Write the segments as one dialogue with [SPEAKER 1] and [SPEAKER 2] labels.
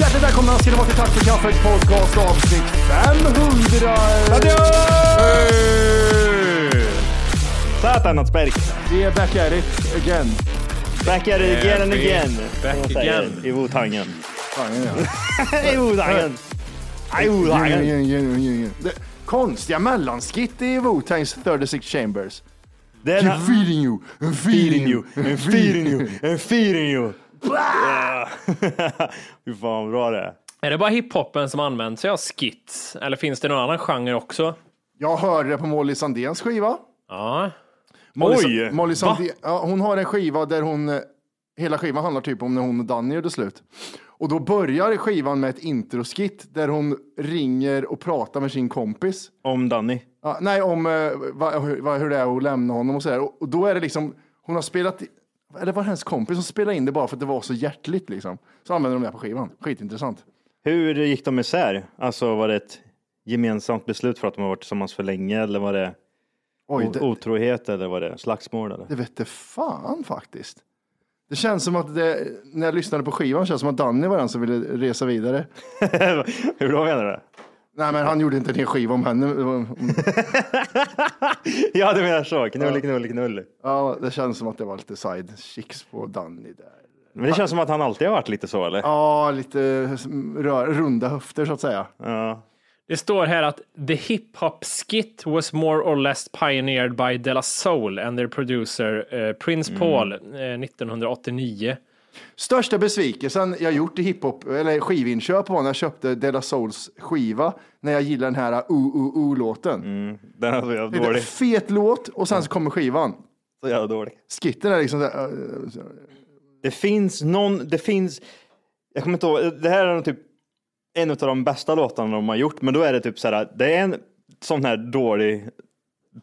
[SPEAKER 1] Hjärtligt välkomna ska ni vara till Tack för kaffet podcast avsnitt 500.
[SPEAKER 2] Satan och Sperk.
[SPEAKER 1] Det är back at it again.
[SPEAKER 2] Back at it again and again.
[SPEAKER 3] Back
[SPEAKER 2] som de säger
[SPEAKER 3] again.
[SPEAKER 2] I Wu-Tangen.
[SPEAKER 1] Fan, ja,
[SPEAKER 2] I Wu-Tangen. I
[SPEAKER 1] ja. Ju,
[SPEAKER 2] Wu-Tangen.
[SPEAKER 1] ju, ju, ju, ju. Det- Konstiga mellanskitt i Wu-Tangs 36 Chambers.
[SPEAKER 2] Den
[SPEAKER 1] I'm
[SPEAKER 2] har...
[SPEAKER 1] feeding you, I'm feeding you, I'm feeding you.
[SPEAKER 2] I'm feeding you. Yeah. Fy fan vad bra det är.
[SPEAKER 4] Är det bara hiphopen som använder sig av skits? Eller finns det någon annan genre också?
[SPEAKER 1] Jag hörde det på Molly Sandéns skiva.
[SPEAKER 4] Ja.
[SPEAKER 1] Molly,
[SPEAKER 2] Oj!
[SPEAKER 1] Sa- Molly Sandén, ja, hon har en skiva där hon, eh, hela skivan handlar typ om när hon och Danny gjorde slut. Och då börjar skivan med ett introskit där hon ringer och pratar med sin kompis.
[SPEAKER 2] Om Danny.
[SPEAKER 1] Ja, nej, om eh, vad- hur, vad- hur det är att lämna honom och sådär. Och, och då är det liksom, hon har spelat, i- eller var det hennes kompis som spelade in det bara för att det var så hjärtligt liksom. Så använder de det på skivan. Skitintressant.
[SPEAKER 2] Hur gick de isär? Alltså var det ett gemensamt beslut för att de har varit tillsammans för länge eller var det
[SPEAKER 1] Oj,
[SPEAKER 2] o-
[SPEAKER 1] det,
[SPEAKER 2] otrohet eller var det slagsmål eller?
[SPEAKER 1] det vette fan faktiskt. Det känns som att det, när jag lyssnade på skivan känns det som att Danny var den som ville resa vidare.
[SPEAKER 2] Hur då menar du?
[SPEAKER 1] Nej, men han gjorde inte en hel skiva om henne.
[SPEAKER 2] Ja du menar så, knull, knull, knull.
[SPEAKER 1] Ja, det känns som att det var lite side chicks på Danny där.
[SPEAKER 2] Men det känns som att han alltid har varit lite så eller?
[SPEAKER 1] Ja, lite rör, runda höfter så att säga.
[SPEAKER 2] Ja.
[SPEAKER 4] Det står här att the hip-hop skit was more or less pioneered by De La Soul and their producer eh,
[SPEAKER 5] Mm.
[SPEAKER 4] Prince Paul eh, 1989.
[SPEAKER 1] Största besvikelsen jag gjort i hiphop, eller skivinköp var när jag köpte De La Souls skiva, när jag gillade den här OOO-låten.
[SPEAKER 2] Den är så jävla
[SPEAKER 1] det är en
[SPEAKER 2] Mm, dålig.
[SPEAKER 1] fet låt och sen så kommer skivan.
[SPEAKER 2] Så jävla dålig.
[SPEAKER 1] Skitten är liksom så här, eh, så-
[SPEAKER 2] Det finns någon, det finns, jag kommer inte ihåg, det här är nog typ en av de bästa låtarna de har gjort, men då är det typ så här, det är en sån här dålig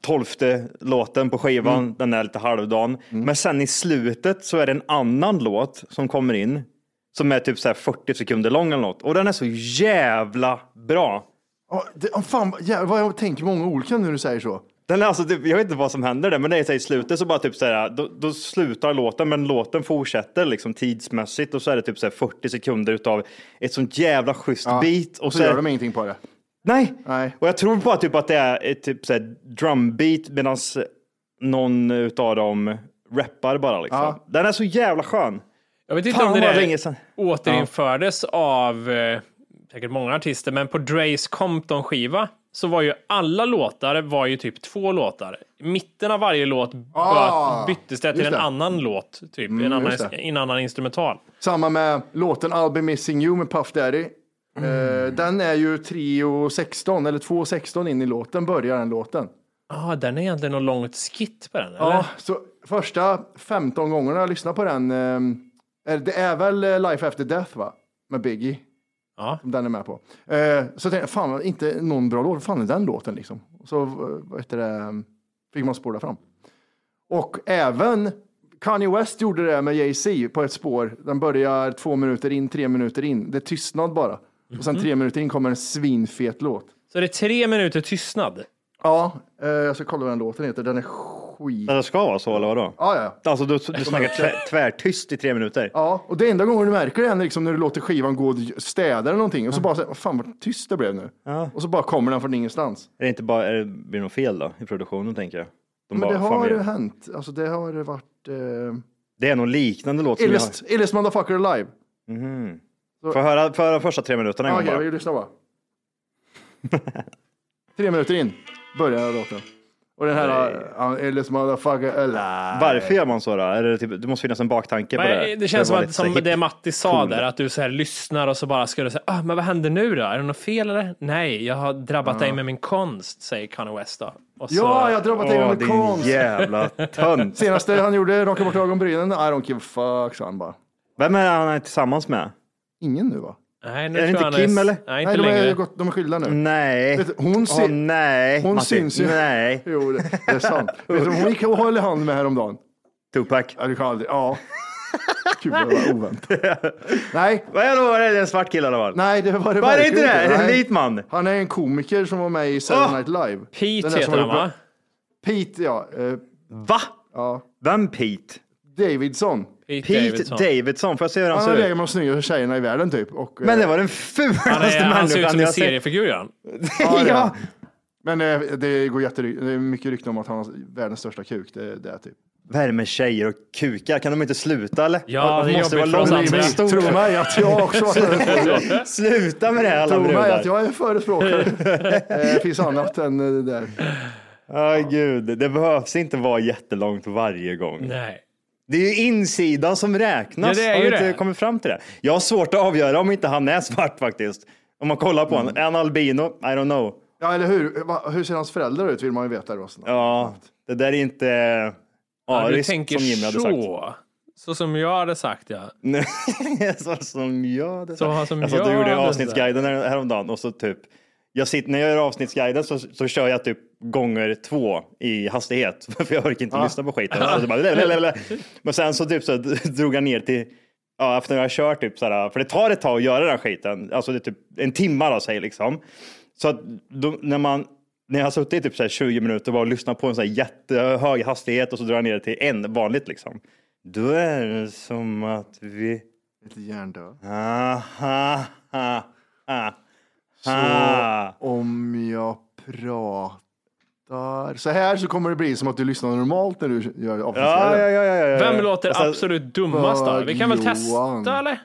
[SPEAKER 2] tolfte låten på skivan, den är lite halvdan, men sen i slutet så är det en annan låt som kommer in som är typ så här 40 sekunder lång eller något och den är så jävla bra.
[SPEAKER 1] Ja, det, oh, fan, jävlar, vad jag tänker många olika nu när du säger så.
[SPEAKER 2] Den är alltså, typ- jag vet inte vad som händer där, men det är så här, i slutet så bara typ så här, då, då slutar låten, men låten fortsätter liksom tidsmässigt och så är det typ så här 40 sekunder utav ett sånt jävla schysst beat. Och
[SPEAKER 1] Och så
[SPEAKER 2] så här-
[SPEAKER 1] gör de ingenting på det.
[SPEAKER 2] nej.
[SPEAKER 1] Nej.
[SPEAKER 2] Och jag tror bara typ att det är ett typ så här drumbeat medan någon utav dem rappar bara liksom.
[SPEAKER 1] Ja.
[SPEAKER 2] Den är så jävla skön.
[SPEAKER 4] Jag vet inte
[SPEAKER 2] Fan,
[SPEAKER 4] om det
[SPEAKER 2] vad
[SPEAKER 4] där
[SPEAKER 2] länge sedan.
[SPEAKER 4] återinfördes av eh, säkert många artister, men på Dres Compton-skiva så var ju alla låtar var ju typ två låtar. I Mitten av varje låt
[SPEAKER 1] Ah,
[SPEAKER 4] bara byttes det till
[SPEAKER 1] just
[SPEAKER 4] en
[SPEAKER 1] det. Mm,
[SPEAKER 4] annan låt, typ en annan,
[SPEAKER 1] just det.
[SPEAKER 4] en annan instrumental.
[SPEAKER 1] Samma med låten I'll be missing you med Puff Daddy. Eh, den är ju 3.16 eller 2.16 in i låten börjar den låten.
[SPEAKER 4] Ja, Ah, den är egentligen något långt skit på den. Eller?
[SPEAKER 1] Ja, så första 15 gångerna jag lyssnade på den, eh, är- det är väl eh, Life After Death va? Med Biggie.
[SPEAKER 4] Ja.
[SPEAKER 1] Som den är med på. Eh, Så tänkte jag, fan inte någon bra låt, vad fan är den låten liksom? Så eh, vad heter det, ehm, fick man spåra fram. Och även Kanye West gjorde det med Jay-Z på ett spår. Den börjar två minuter in, tre minuter in. Det är tystnad bara. Och sen tre minuter in kommer en svinfet låt.
[SPEAKER 4] Så det är tre minuter tystnad.
[SPEAKER 1] Ja, eh, jag ska kolla vad den låten heter. Den är skit...
[SPEAKER 2] Men Det ska vara så eller vadå?
[SPEAKER 1] Ja, ja.
[SPEAKER 2] Alltså du, du snackar tvär, tvärtyst i tre minuter.
[SPEAKER 1] Ja, och det enda gången du märker det är liksom när du låter skivan gå och städa eller någonting och så bara så här, "Vad fan vad tyst det blev nu. Och så bara kommer den från ingenstans.
[SPEAKER 2] Är det inte bara, är det, blir det något fel då i produktionen tänker jag? De
[SPEAKER 1] Men
[SPEAKER 2] bara,
[SPEAKER 1] det
[SPEAKER 2] fan,
[SPEAKER 1] har
[SPEAKER 2] vi-
[SPEAKER 1] hänt. Alltså det har varit... Eh...
[SPEAKER 2] det är någon liknande låt som jag har.
[SPEAKER 1] Illest, Illest Motherfucker Alive.
[SPEAKER 2] Får jag höra, får jag höra första tre minuterna en
[SPEAKER 1] Ja,
[SPEAKER 2] gång
[SPEAKER 1] Ah, Okej,
[SPEAKER 2] bara?
[SPEAKER 1] vi lyssnar bara. Tre minuter in börjar låten. Och den här... eh, Illest Motherfucker Alive.
[SPEAKER 2] Varför gör man så då? Är det, typ, det måste finnas en baktanke på det här.
[SPEAKER 4] Men det känns
[SPEAKER 2] För
[SPEAKER 4] som,
[SPEAKER 2] att vara
[SPEAKER 4] att,
[SPEAKER 2] lite
[SPEAKER 4] som
[SPEAKER 2] så hip.
[SPEAKER 4] det Matti sa
[SPEAKER 2] cool.
[SPEAKER 4] där, att du så här lyssnar och så bara ska du säga, ah, men vad händer nu då? Är det något fel eller? Nej, jag har drabbat dig med min konst, säger Kanye West då. Och så,
[SPEAKER 1] Ah. Ja, jag har drabbat dig
[SPEAKER 2] Åh,
[SPEAKER 1] med konst.
[SPEAKER 2] din jävla tönt.
[SPEAKER 1] Senaste han gjorde, raka bort ögonbrynen, I don't give a fuck, sa han bara.
[SPEAKER 2] Vem är han är tillsammans med?
[SPEAKER 1] Ingen nu va?
[SPEAKER 4] Nej, nu
[SPEAKER 2] Är det
[SPEAKER 4] tror
[SPEAKER 2] inte
[SPEAKER 4] jag han
[SPEAKER 2] Kim,
[SPEAKER 4] är,
[SPEAKER 2] eller?
[SPEAKER 4] Nej,
[SPEAKER 1] Nej,
[SPEAKER 4] inte
[SPEAKER 1] de är,
[SPEAKER 4] längre.
[SPEAKER 1] gott- de är skilda nu.
[SPEAKER 2] Nej.
[SPEAKER 1] Vet du, hon
[SPEAKER 2] Åh,
[SPEAKER 1] ser-
[SPEAKER 2] nej.
[SPEAKER 1] Hon
[SPEAKER 2] Matti.
[SPEAKER 1] syns ju.
[SPEAKER 2] Nej.
[SPEAKER 1] Jo, det det är sant. Vet du, hon gick och höll hand med häromdagen.
[SPEAKER 2] Tupac.
[SPEAKER 1] Ja, du kan aldrig. Ja. Gud, det var oväntat. Nej,
[SPEAKER 2] Vad är det? Är det en svart kille i alla fall?
[SPEAKER 1] nej, det var det
[SPEAKER 2] Vad är det
[SPEAKER 1] verkligen
[SPEAKER 2] inte det? Är det en
[SPEAKER 1] Nej.
[SPEAKER 2] vit man?
[SPEAKER 1] Han är en komiker som var med i Saturday
[SPEAKER 2] Ah!
[SPEAKER 1] Night Live. Den
[SPEAKER 4] Pete
[SPEAKER 1] där som
[SPEAKER 4] heter han
[SPEAKER 1] var uppe-
[SPEAKER 4] va?
[SPEAKER 1] Pete, ja. Eh,
[SPEAKER 2] Va?
[SPEAKER 1] ja.
[SPEAKER 2] Vem Pete?
[SPEAKER 1] Davidson.
[SPEAKER 2] Pete Davidson. Får jag se hur han,
[SPEAKER 1] Han har
[SPEAKER 2] ser
[SPEAKER 1] legat
[SPEAKER 2] ut?
[SPEAKER 1] med de snyggaste tjejerna i världen typ. Och, eh,
[SPEAKER 2] Men det var den
[SPEAKER 4] Han, är,
[SPEAKER 2] fulaste
[SPEAKER 4] han ser ut
[SPEAKER 2] människan
[SPEAKER 4] som
[SPEAKER 2] jag
[SPEAKER 4] en
[SPEAKER 2] har sett.
[SPEAKER 4] seriefigur han.
[SPEAKER 1] Ja, det är
[SPEAKER 2] Ja.
[SPEAKER 1] han. Men eh, det går jätte, det är mycket rykte om att han har världens största kuk. Det, det är typ.
[SPEAKER 2] Vad är det med tjejer och kukar? Kan de inte sluta eller?
[SPEAKER 4] Ja, det är
[SPEAKER 2] måste
[SPEAKER 4] jobbigt
[SPEAKER 2] vara
[SPEAKER 4] för oss
[SPEAKER 2] långt
[SPEAKER 4] andra.
[SPEAKER 2] och stort.
[SPEAKER 1] Tro mig att jag också har det.
[SPEAKER 2] Sluta med det här alla
[SPEAKER 1] Tro mig
[SPEAKER 2] brudar.
[SPEAKER 1] att jag är förespråkare. Eh, Det finns annat än eh, det där.
[SPEAKER 2] Ja, gud. Det behövs inte vara jättelångt varje gång.
[SPEAKER 4] Nej.
[SPEAKER 2] Det är ju insidan som räknas.
[SPEAKER 4] Ja, det är
[SPEAKER 2] har vi
[SPEAKER 4] ju
[SPEAKER 2] inte
[SPEAKER 4] det.
[SPEAKER 2] kommit fram till det. Jag har svårt att avgöra om inte han är svart faktiskt. Om man kollar på
[SPEAKER 4] Mm.
[SPEAKER 2] honom. Är han albino? I don't know.
[SPEAKER 1] Ja, eller hur? Va- Hur ser hans föräldrar ut vill man ju veta då.
[SPEAKER 2] Ja, det där är inte
[SPEAKER 4] Ja, du
[SPEAKER 2] ariskt
[SPEAKER 4] tänker
[SPEAKER 2] som Jimmy hade sagt.
[SPEAKER 4] så. Så som jag hade sagt ja.
[SPEAKER 2] Nej, så som jag det
[SPEAKER 4] Så som
[SPEAKER 2] jag satt och
[SPEAKER 4] jag
[SPEAKER 2] gjorde
[SPEAKER 4] det
[SPEAKER 2] avsnittsguiden här- häromdagen och så typ, jag sitter, när jag gör avsnittsguiden så, så kör jag typ gånger två i hastighet för jag orkar inte lyssna på skiten. Alltså, bara, lalalala. Men sen så typ så drog jag ner till, ja efter jag har kört typ så här, för det tar ett tag att göra den här skiten, alltså det är typ en timme av sig liksom. Så att då, när man när jag har suttit i typ så här 20 minuter och bara lyssnat på en så här jättehög hastighet och så drar jag ner det till en vanligt liksom. Då är det som att vi
[SPEAKER 1] Lite hjärndöd.
[SPEAKER 2] Ah, ah, ah, ah, ah.
[SPEAKER 1] Om jag pratar så här så kommer det bli som att du lyssnar normalt när du gör
[SPEAKER 2] Ja, ja,
[SPEAKER 1] avsnittsguiden.
[SPEAKER 2] ja, ja, Alltså, ja.
[SPEAKER 4] Vem låter
[SPEAKER 2] Och sen-
[SPEAKER 4] absolut dummast då? Vi kan väl
[SPEAKER 1] Johan.
[SPEAKER 4] testa eller?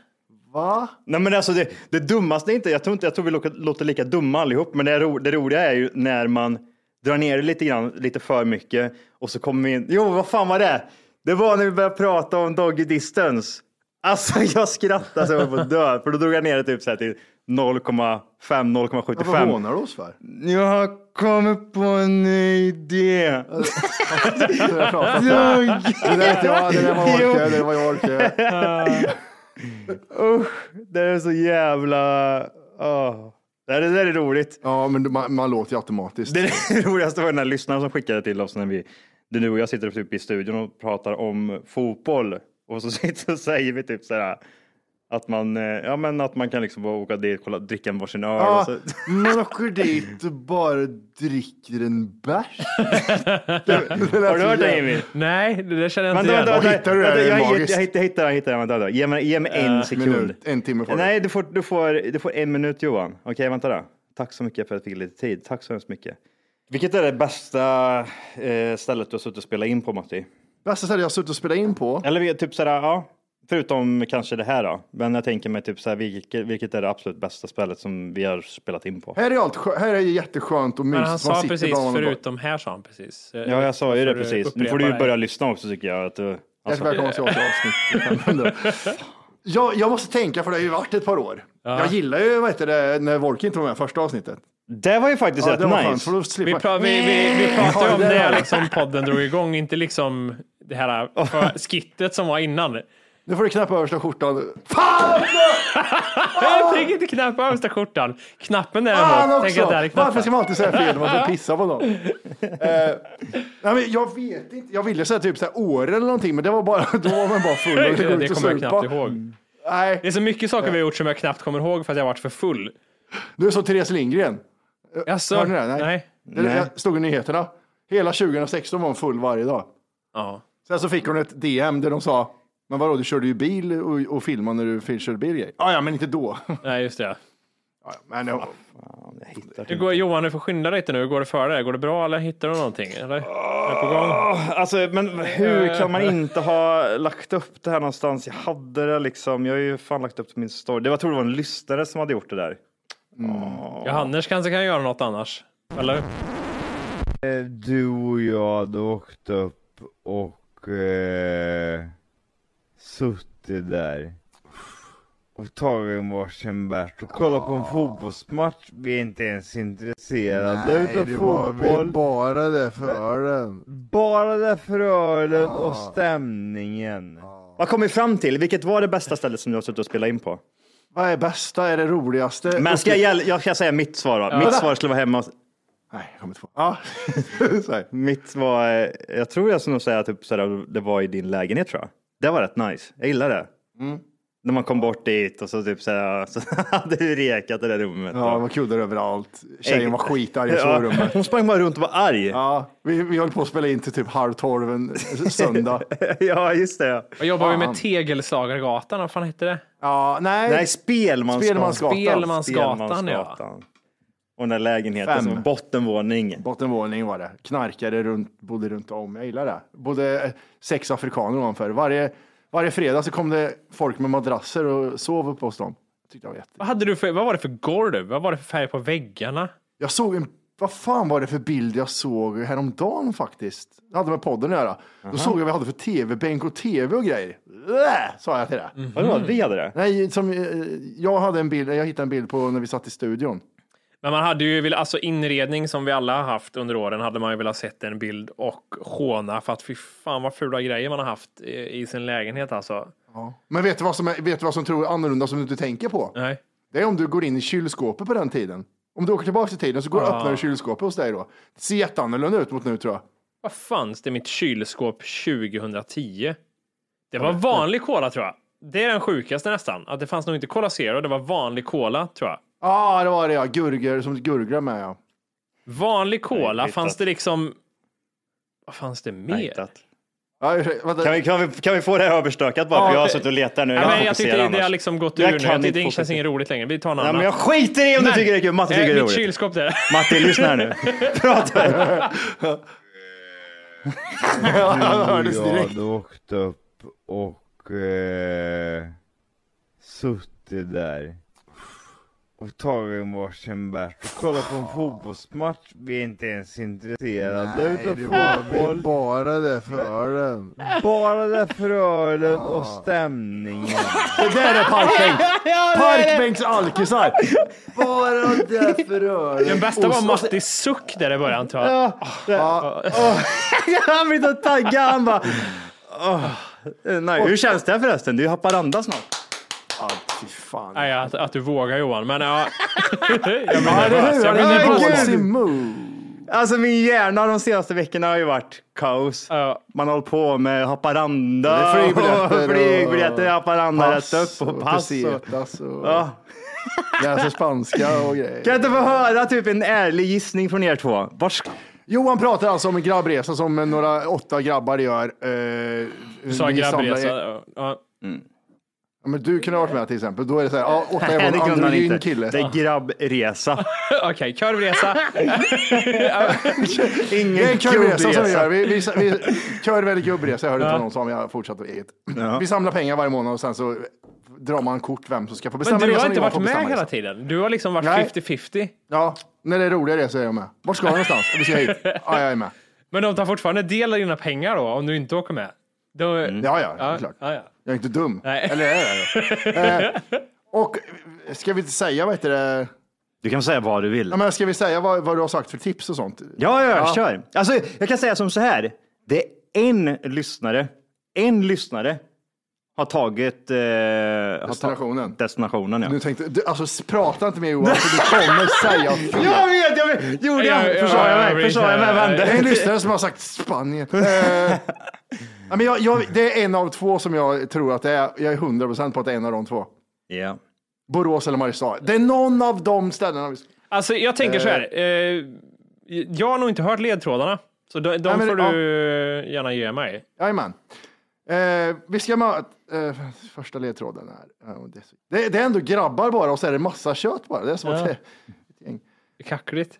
[SPEAKER 1] Va?
[SPEAKER 2] Nej, men alltså det, det dummaste är inte, jag tror inte, jag tror vi låter, låter lika dumma allihop, men det, ro, det roliga är ju när man drar ner det lite grann, lite för mycket och så kommer vi in. Jo, vad fan var det? Det var när vi började prata om doggy distance. Alltså jag skrattade så jag var på att dö, för då drog jag ner det typ så här till 0,5,
[SPEAKER 1] Varför
[SPEAKER 2] 0,75.
[SPEAKER 1] hånar du oss för?
[SPEAKER 2] Jag kommer på en ny idé.
[SPEAKER 1] Det där pratar-
[SPEAKER 2] Dogg.
[SPEAKER 1] det där är inte jag, det där var
[SPEAKER 2] Jo.
[SPEAKER 1] Orke, det där var jag Orke.
[SPEAKER 2] Usch, det är så jävla... åh. Det, det där är roligt.
[SPEAKER 1] Ja, men man, man låter ju automatiskt.
[SPEAKER 2] Det, är det roligaste var den här lyssnaren som skickade till oss när vi, det är du och jag sitter typ i studion och pratar om fotboll och så sitter och säger vi typ så här att man, eh, ja men att man kan liksom bara åka dit, kolla, dricka en varsin öl och
[SPEAKER 1] Ja,
[SPEAKER 2] så.
[SPEAKER 1] man åker dit och bara dricker en bärs.
[SPEAKER 2] Har du hört det Jimmy?
[SPEAKER 4] Nej, det där känner jag inte
[SPEAKER 2] Vänta,
[SPEAKER 4] igen.
[SPEAKER 2] vänta, vänta.
[SPEAKER 1] hittar du det här? Det
[SPEAKER 2] Vänta,
[SPEAKER 1] är
[SPEAKER 2] Jag jag- jag
[SPEAKER 1] magiskt.
[SPEAKER 2] hittar, jag hittar, jag hittar, vänta, vänta. Ge mig, ge mig Eh, en sekund.
[SPEAKER 1] Minut, en timme får du.
[SPEAKER 2] Nej, du får, du, får, du får en minut Johan. Okej, vänta då. Tack så mycket för att jag fick lite tid. Tack så hemskt mycket. Vilket är det bästa eh, stället du har suttit och spelat in på Matti?
[SPEAKER 1] Bästa stället jag har suttit och spelat in på.
[SPEAKER 2] Eller vi- typ sådär, ja. Förutom kanske det här då. Men jag tänker mig typ såhär, vilket, vilket är det absolut bästa spelet som vi har spelat in på?
[SPEAKER 1] Här är allt skö- här är jätteskönt och mysigt.
[SPEAKER 4] Men han
[SPEAKER 1] Man
[SPEAKER 4] sa
[SPEAKER 1] sitter
[SPEAKER 4] precis,
[SPEAKER 1] bland varandra och bara-
[SPEAKER 4] förutom här sa han precis.
[SPEAKER 2] Ja, jag sa ju det
[SPEAKER 4] Får du
[SPEAKER 2] precis. Nu
[SPEAKER 4] upprepa
[SPEAKER 2] får du alltså, ju
[SPEAKER 4] det?
[SPEAKER 2] börja lyssna också tycker jag. Att du,
[SPEAKER 1] Hjärtligt
[SPEAKER 2] alltså,
[SPEAKER 1] välkomna till avsnitt 500. Jag, jag måste tänka för det har ju varit ett par år. Jag gillar ju vad heter det, när Volke inte var med i första avsnittet.
[SPEAKER 2] Det var ju faktiskt
[SPEAKER 1] Ja,
[SPEAKER 2] rätt
[SPEAKER 1] det var
[SPEAKER 2] nice.
[SPEAKER 1] skönt, för då slipper
[SPEAKER 4] Vi,
[SPEAKER 1] jag-
[SPEAKER 4] pra- vi, vi, vi pratade ju om
[SPEAKER 1] Ja,
[SPEAKER 4] det
[SPEAKER 1] där var
[SPEAKER 4] här
[SPEAKER 1] det.
[SPEAKER 4] liksom podden drog igång, inte liksom det här för- skittet som var innan.
[SPEAKER 1] Nu får du knäppa översta skjortan.
[SPEAKER 4] Jag tänker inte knäppa översta skjortan. Knappen
[SPEAKER 1] Fan
[SPEAKER 4] däremot, tänk
[SPEAKER 1] också!
[SPEAKER 4] att där är
[SPEAKER 1] Varför ska
[SPEAKER 4] knappen.
[SPEAKER 1] man alltid säga fel när man ska pissa på någon? Eh, nej, men jag vet inte. Jag ville säga typ så här år eller någonting, men det var bara, då var man bara full. och
[SPEAKER 4] Det
[SPEAKER 1] gick ut och
[SPEAKER 4] kommer jag
[SPEAKER 1] supa.
[SPEAKER 4] knappt ihåg.
[SPEAKER 1] Nej,
[SPEAKER 4] Det är så mycket saker vi har gjort som jag knappt kommer ihåg för att jag varit för full.
[SPEAKER 1] du är som Therese Lindgren.
[SPEAKER 4] Alltså,
[SPEAKER 1] Hörde ni det? Nej.
[SPEAKER 4] nej.
[SPEAKER 1] Det det stod i nyheterna. Hela 2016 var hon full varje dag.
[SPEAKER 4] Ja.
[SPEAKER 1] Sen så fick hon ett DM där de sa, men vadå, du körde ju bil och, och filmade när du fil- körde bil. och grejer." Ja, ja, men inte då.
[SPEAKER 4] nej, just det.
[SPEAKER 1] Ja, men, eh,
[SPEAKER 4] Du går, Johan, du får skynda dig lite nu. Hur går det för dig? Går det bra eller hittar du någonting? Eller? Är det på gång? Eh.
[SPEAKER 2] Alltså, men hur kan man inte ha lagt upp det här någonstans? Jag hade det liksom. Jag har ju fan lagt upp det på min story. Det var, jag tror det var en lyssnare som hade gjort det där.
[SPEAKER 4] Johannes kanske kan göra något annars? Eller?
[SPEAKER 6] Eh, Du och jag hade åkt upp och eh, suttit där och tagit en varsin bärs och kollat på en fotbollsmatch. Vi är inte ens intresserade utav fotboll.
[SPEAKER 7] bara det för den.
[SPEAKER 6] Bara därför ölen och
[SPEAKER 1] Ah.
[SPEAKER 6] stämningen.
[SPEAKER 2] Vad kom vi fram till? Vilket var det bästa stället som du har suttit och spelat in på?
[SPEAKER 1] vad är bästa, är det roligaste?
[SPEAKER 2] Men ska jag, gäll- jag ska säga mitt svar då. Mitt svar skulle vara hemma. hos-
[SPEAKER 1] Nej, jag kommer inte på. Ja. Så här.
[SPEAKER 2] Mitt var, eh, jag tror jag skulle nog säga typ sådär, det var i din lägenhet tror jag. Det var rätt nice. Jag gillar det.
[SPEAKER 1] Mm.
[SPEAKER 2] När man kom bort dit och så typ såhär, så hade du rekat i det där rummet.
[SPEAKER 1] Ja, det var kuddar överallt. Tjejen var skitarg i
[SPEAKER 2] Ja,
[SPEAKER 1] sovrummet.
[SPEAKER 2] Hon sprang bara runt och var arg. Ja,
[SPEAKER 1] Ja, vi, vi höll på att spela in till typ halv tolv en söndag.
[SPEAKER 2] just det.
[SPEAKER 4] Vad jobbar vi
[SPEAKER 1] Fan.
[SPEAKER 4] med? Tegelslagargatan? Vad fan hette det?
[SPEAKER 1] Ja, nej.
[SPEAKER 2] Nej, Spelmansgatan.
[SPEAKER 1] Spelmansgatan.
[SPEAKER 4] Spelmansgatan,
[SPEAKER 2] Och den där lägenheten
[SPEAKER 1] Fem.
[SPEAKER 2] som var bottenvåning.
[SPEAKER 4] Mm-hmm.
[SPEAKER 1] Bottenvåning var det. Knarkade runt, bodde runt om. Jag gillar det. Bodde eh, sex afrikaner ovanför. Varje, varje fredag så kom det folk med madrasser och sov uppe hos dem. Tyckte jag var jätte...
[SPEAKER 4] Vad, hade du för, vad var det för golv? Vad var det för färg på väggarna?
[SPEAKER 1] Jag såg en, vad fan var det för bild jag såg häromdagen faktiskt? Det hade med podden att göra. Då såg jag vad vi hade för tv-bänk och tv och grejer. Äh, sa jag till det.
[SPEAKER 2] Vadå, vi hade det?
[SPEAKER 1] Nej, som, eh, jag hade en bild, jag hittade en bild på när vi satt i studion.
[SPEAKER 4] Men man hade ju velat, alltså inredning som vi alla har haft under åren hade man ju velat sett en bild och håna för att fy fan vad fula grejer man har haft i, i sin lägenhet alltså.
[SPEAKER 1] Men vet du vad som, är, vet du vad som tror är annorlunda som du inte tänker på?
[SPEAKER 4] Nej.
[SPEAKER 1] Det är om du går in i kylskåpet på den tiden. Om du åker tillbaka i tiden så går du och öppnar kylskåpet hos dig då. Det ser jätteannorlunda ut mot nu tror jag.
[SPEAKER 4] Vad fanns det i mitt kylskåp 2010? Det var vanlig cola tror jag. Det är den sjukaste nästan. Att det fanns nog inte Cola Zero, det var vanlig cola tror jag.
[SPEAKER 1] Ja, ah, det var det ja. Gurger som gurglar med ja.
[SPEAKER 4] Vanlig cola,
[SPEAKER 2] Nej,
[SPEAKER 4] fanns
[SPEAKER 2] hittat.
[SPEAKER 4] det liksom... Vad fanns det mer?
[SPEAKER 2] Hittat.
[SPEAKER 1] ja ursäkta, vänta.
[SPEAKER 2] Kan vi, kan, vi, kan vi få det här överstökat bara?
[SPEAKER 4] Ja,
[SPEAKER 2] för jag har
[SPEAKER 4] det-
[SPEAKER 2] suttit och letat nu.
[SPEAKER 4] Nej, men
[SPEAKER 2] jag
[SPEAKER 4] jag
[SPEAKER 2] fokuserar
[SPEAKER 4] tyckte det har
[SPEAKER 2] annars.
[SPEAKER 4] liksom gått ur
[SPEAKER 2] Jag
[SPEAKER 4] nu.
[SPEAKER 2] kan
[SPEAKER 4] Jag tyckte
[SPEAKER 2] inte
[SPEAKER 4] det känns
[SPEAKER 2] fokusera.
[SPEAKER 4] inget roligt längre. Vi tar en
[SPEAKER 2] Nej,
[SPEAKER 4] annan.
[SPEAKER 2] men jag skiter i om du tycker det är kul. Matti tycker
[SPEAKER 4] Eh,
[SPEAKER 2] det är
[SPEAKER 4] Mitt
[SPEAKER 2] roligt.
[SPEAKER 4] kylskåp där.
[SPEAKER 2] Matti, lyssna här nu. Prata.
[SPEAKER 6] Du och jag hade åkt upp och eh, suttit där och tagit en varsin bärs och kollat på en fotbollsmatch. Vi är inte ens intresserade utav fotboll.
[SPEAKER 7] Bara det för den.
[SPEAKER 6] Bara därför ölen och stämningen.
[SPEAKER 1] Det där är parkbänk. Parkbänksalkisar.
[SPEAKER 7] Bara det för
[SPEAKER 4] Den
[SPEAKER 7] ölen.
[SPEAKER 4] bästa var Mattis suck där i början tror jag.
[SPEAKER 2] Han blir så taggad. Han bara... "Åh, eh, nej. Hur känns det förresten? Du är i Haparanda snart.
[SPEAKER 1] Ja, fy fan.
[SPEAKER 4] Nej, att, att du vågar Johan, men ja. jag blir nervös.
[SPEAKER 1] Hur
[SPEAKER 4] Jag
[SPEAKER 1] har
[SPEAKER 4] blir
[SPEAKER 1] ni
[SPEAKER 4] nervös.
[SPEAKER 1] någonsin move?
[SPEAKER 2] Alltså min hjärna de senaste veckorna har ju varit kaos.
[SPEAKER 4] Ja.
[SPEAKER 2] Man håller på med Haparanda.
[SPEAKER 1] Det är flygbiljetter
[SPEAKER 2] och flygbiljetter i
[SPEAKER 1] och
[SPEAKER 2] Haparanda rätt
[SPEAKER 1] pass
[SPEAKER 2] upp och
[SPEAKER 1] och
[SPEAKER 2] pass. Och,
[SPEAKER 1] pesetas och-
[SPEAKER 2] ja.
[SPEAKER 1] Läser spanska och grejer.
[SPEAKER 2] Kan jag inte få höra typ en ärlig gissning från er två? Vart ska...
[SPEAKER 1] Johan pratar alltså om en grabbresa som några åtta grabbar gör. Eh,
[SPEAKER 4] Du sa
[SPEAKER 1] ni samlar
[SPEAKER 4] grabbresa.
[SPEAKER 1] er-
[SPEAKER 4] ja, ja.
[SPEAKER 1] Ja, men du kunde ha varit med till exempel. Då är det så här, ja, åtta är
[SPEAKER 2] Nej,
[SPEAKER 1] en
[SPEAKER 2] det kunde han
[SPEAKER 1] androgyn
[SPEAKER 2] inte.
[SPEAKER 1] kille.
[SPEAKER 2] Det är grabbresa.
[SPEAKER 4] Okej, kurvresa.
[SPEAKER 2] Ingen
[SPEAKER 1] Det är en kurvresa som vi
[SPEAKER 2] gubbresa.
[SPEAKER 1] gör. Vi, vi, vi, kurv eller gubbresa, jag hörde inte någon som jag fortsatt med eget. Vi samlar pengar varje månad och sen så drar man kort vem som ska få bestämma
[SPEAKER 4] Men du
[SPEAKER 1] resan
[SPEAKER 4] har
[SPEAKER 1] och
[SPEAKER 4] inte
[SPEAKER 1] jag
[SPEAKER 4] varit
[SPEAKER 1] får
[SPEAKER 4] med
[SPEAKER 1] bestämma
[SPEAKER 4] hela
[SPEAKER 1] resan.
[SPEAKER 4] tiden. Du har liksom varit
[SPEAKER 1] Nej.
[SPEAKER 4] 50-50.
[SPEAKER 1] Ja, när det är roliga resor är jag med. Vart ska jag någonstans? Vi ska hit. Ja, jag är med.
[SPEAKER 4] Men de tar fortfarande del av dina pengar då, om du inte åker med. Då,
[SPEAKER 1] Ja, ja, klart.
[SPEAKER 4] ja, ja.
[SPEAKER 1] Jag är inte dum.
[SPEAKER 4] Nej.
[SPEAKER 1] Eller är jag det? eh, och ska vi inte säga vad heter det?
[SPEAKER 2] Du kan säga vad du vill.
[SPEAKER 1] Ja, men ska vi säga vad, vad du har sagt för tips och sånt?
[SPEAKER 2] Ja, ja, ja, kör. Alltså, jag kan säga som så här. Det är en lyssnare, en lyssnare har tagit... Eh, destinationen. destinationen, ja.
[SPEAKER 1] Nu tänkte, du, alltså s- prata inte med Johan för du kommer säga fel.
[SPEAKER 2] Jag vet, jag vet! Gjorde jag? Försade jag mig? Försade jag mig? Vände?
[SPEAKER 1] Det är en lyssnare som har sagt Spanien. Eh, ja, men jag, jag, det är en av två som jag tror att det är. Jag är 100 procent på att det är en av de två.
[SPEAKER 2] Ja.
[SPEAKER 1] Borås eller Mariestad. Det är någon av de ställena. Vi...
[SPEAKER 4] Alltså jag tänker så här. Eh, jag har nog inte hört ledtrådarna. Så de, de
[SPEAKER 1] Nej, men-
[SPEAKER 4] får du gärna ge mig.
[SPEAKER 1] Jajamän. Eh, vi ska möta... Eh, första ledtråden är... ja, det, är så- det, det är ändå grabbar bara och så är det massa kött bara. Det är som
[SPEAKER 4] Ja.
[SPEAKER 1] att det,
[SPEAKER 4] Kackligt.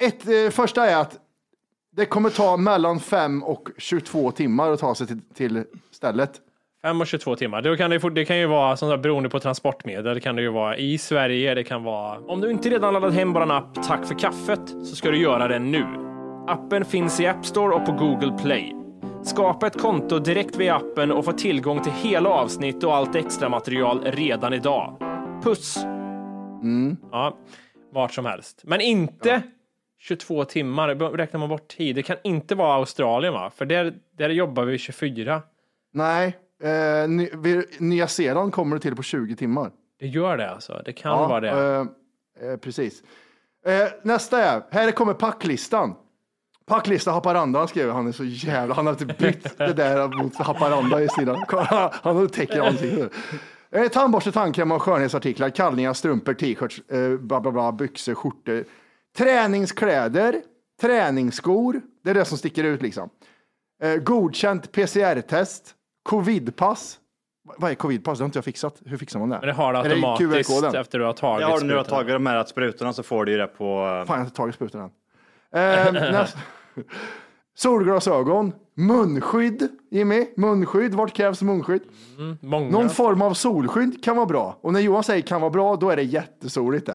[SPEAKER 1] Ett, eh, första är att det kommer ta mellan 5 och 22 timmar att ta sig till, till stället.
[SPEAKER 4] 5 och 22 timmar. Då kan det, fort- det kan ju vara som sagt, beroende på transportmedel. Det kan det ju vara i Sverige. Det kan vara... Om du inte redan laddat hem bara en app Tack för kaffet så ska du göra det nu. Appen finns i App Store och på Google Play. Skapa ett konto direkt via appen och få tillgång till hela avsnitt och allt extra material redan idag. Puss! Ja, vart som helst. Men inte 22 timmar. Då Räknar man bort tid. Det kan inte vara Australien va? För där, där jobbar vi 24.
[SPEAKER 1] Nej, eh, ny, vi, Nya Zeeland kommer det till på 20 timmar.
[SPEAKER 4] Det gör det alltså. Det kan vara det.
[SPEAKER 1] Eh, eh, precis. Eh, nästa är, här kommer packlistan. Packlista Haparanda skriver han är så jävla, han har inte bytt det där mot Haparanda i sidan. Kolla, Han täcker ansiktet. Eh, tandborste, tandkräm och skönhetsartiklar, kallningar, strumpor, t-shirts, eh, bla, bla, bla, byxor, skjortor. Träningskläder, träningsskor, det är det som sticker ut liksom. Eh, godkänt PCR-test, covidpass. Va- Vad är covidpass? Det har inte jag fixat. Hur fixar man det?
[SPEAKER 4] Men det har det
[SPEAKER 1] Är det
[SPEAKER 4] automatiskt
[SPEAKER 1] QR-koden?
[SPEAKER 4] efter du har tagit
[SPEAKER 2] Ja, nu har
[SPEAKER 4] sprutan.
[SPEAKER 2] jag tagit de här sprutorna så får du ju det på...
[SPEAKER 1] Fan, jag har inte tagit sprutan än. Eh, nästa- Solglasögon, munskydd, Jimmy. Munskydd, vart krävs munskydd?
[SPEAKER 4] många.
[SPEAKER 1] Någon form av solskydd kan vara bra. Och när Johan säger kan vara bra, då är det jättesoligt. det.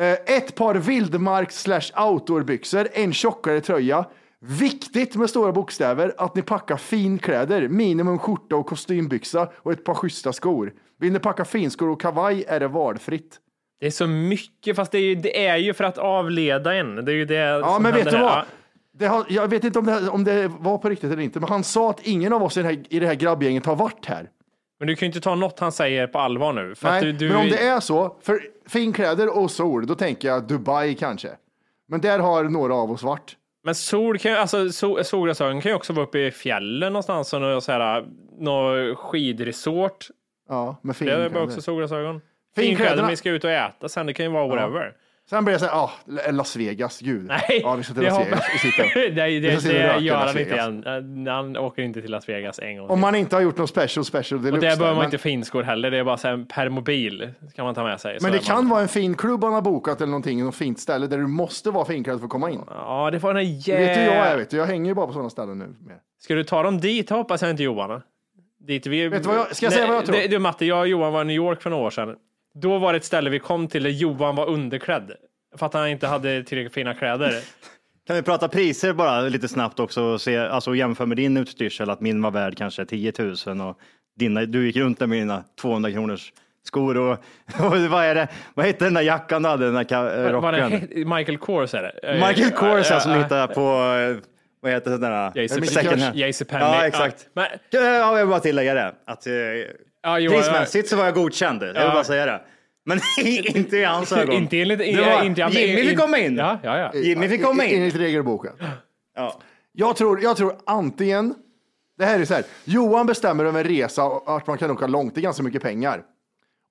[SPEAKER 1] Eh, ett par vildmarks slash outdoorbyxor, en tjockare tröja. Viktigt med stora bokstäver att ni packar finkläder, minimum skjorta och kostymbyxa och ett par schyssta skor. Vill ni packa finskor och kavaj är det valfritt.
[SPEAKER 4] Det är så mycket, fast det är, ju, det är ju för att avleda en. Det är ju det
[SPEAKER 1] Ja,
[SPEAKER 4] som
[SPEAKER 1] men vet
[SPEAKER 4] händer här.
[SPEAKER 1] du vad?
[SPEAKER 4] Ja.
[SPEAKER 1] Det har, jag vet inte om det, här, om det var på riktigt eller inte, men han sa att ingen av oss i det här, i det här grabbgänget har varit här.
[SPEAKER 4] Men du kan ju inte ta något han säger på allvar nu. För
[SPEAKER 1] Nej,
[SPEAKER 4] att du, du,
[SPEAKER 1] men om det är så, för finkläder och sol, då tänker jag Dubai kanske. Men där har några av oss varit.
[SPEAKER 4] men sol kan ju, alltså sol, solglasögon kan ju också vara uppe i fjällen någonstans och någon, så här, någon skidresort.
[SPEAKER 1] Ja,
[SPEAKER 4] Det är
[SPEAKER 1] med finkläder.
[SPEAKER 4] bara också solglasögon.
[SPEAKER 1] Finkläderna-
[SPEAKER 4] Finkläder, vi ska ut och äta sen. Det kan ju vara whatever.
[SPEAKER 1] Sen blir jag så här, ah, Las Vegas, gud.
[SPEAKER 4] Nej,
[SPEAKER 1] ja, liksom till
[SPEAKER 4] det
[SPEAKER 1] Las
[SPEAKER 4] hopp-
[SPEAKER 1] Vegas. och sitta.
[SPEAKER 4] Nej, det,
[SPEAKER 1] Vi ska
[SPEAKER 4] det,
[SPEAKER 1] sitta och röka i
[SPEAKER 4] gör
[SPEAKER 1] Las
[SPEAKER 4] han inte
[SPEAKER 1] Vegas.
[SPEAKER 4] igen. Han åker inte till Las Vegas en gång
[SPEAKER 1] Om man inte har gjort någon special, special
[SPEAKER 4] Och där
[SPEAKER 1] deluxe.
[SPEAKER 4] behöver
[SPEAKER 1] där,
[SPEAKER 4] man
[SPEAKER 1] men,
[SPEAKER 4] inte finskor heller, det är bara så här en permobil kan man ta med sig. Så
[SPEAKER 1] men
[SPEAKER 4] är
[SPEAKER 1] det kan vara en fin klubb han har bokat eller någonting, något fint ställe där du måste vara finklädd för att komma in.
[SPEAKER 4] Ja, det var den här
[SPEAKER 1] Det vet du jag är,
[SPEAKER 4] jä...
[SPEAKER 1] vet du. Jag hänger ju bara på sådana ställen nu. Mer.
[SPEAKER 4] Ska du ta dem dit hoppas jag inte Johan. Dit vi...
[SPEAKER 1] Vet du vad jag- ska jag säga vad jag tror?
[SPEAKER 4] det- Du Matte, jag och Johan var i New York för några år sedan. Då var det ett ställe vi kom till där Johan var underklädd. För att han inte hade tillräckligt fina kläder.
[SPEAKER 2] Kan vi prata priser bara lite snabbt också och se, alltså jämföra med din utstyrsel att min var värd kanske 10 000 och dina, du gick runt där med dina 200 kronors skor och, och vad är det? Vad heter den där jackan du hade, den där ka- eh,
[SPEAKER 4] Vad- vad den
[SPEAKER 2] rocken?
[SPEAKER 4] het- Michael Kors är det. Eh,
[SPEAKER 2] Michael Kors
[SPEAKER 1] alltså,
[SPEAKER 4] ja,
[SPEAKER 2] ja, som
[SPEAKER 4] ja,
[SPEAKER 2] du hittade på, eh, vad heter den där?
[SPEAKER 4] JCPenney.
[SPEAKER 2] Second hand.
[SPEAKER 4] JCPenney.
[SPEAKER 2] Ja, exakt.
[SPEAKER 4] Men,
[SPEAKER 2] Ja, jag vill bara tillägga det. Att, eh,
[SPEAKER 4] jo,
[SPEAKER 2] prismässigt så var jag godkänd. Jag vill
[SPEAKER 4] Ja.
[SPEAKER 2] bara säga det. Men inte i hans ögon.
[SPEAKER 4] Inte enligt-
[SPEAKER 2] Det var,
[SPEAKER 4] inte- inte-
[SPEAKER 2] Jimmy fick komma in.
[SPEAKER 4] Ja, ja, ja.
[SPEAKER 2] Jimmy fick komma in.
[SPEAKER 1] Enligt regelboken.
[SPEAKER 2] Ja.
[SPEAKER 1] Jag, tror, jag tror antingen, det här är så här, Johan bestämmer över en resa och att man kan åka långt, det är ganska mycket pengar.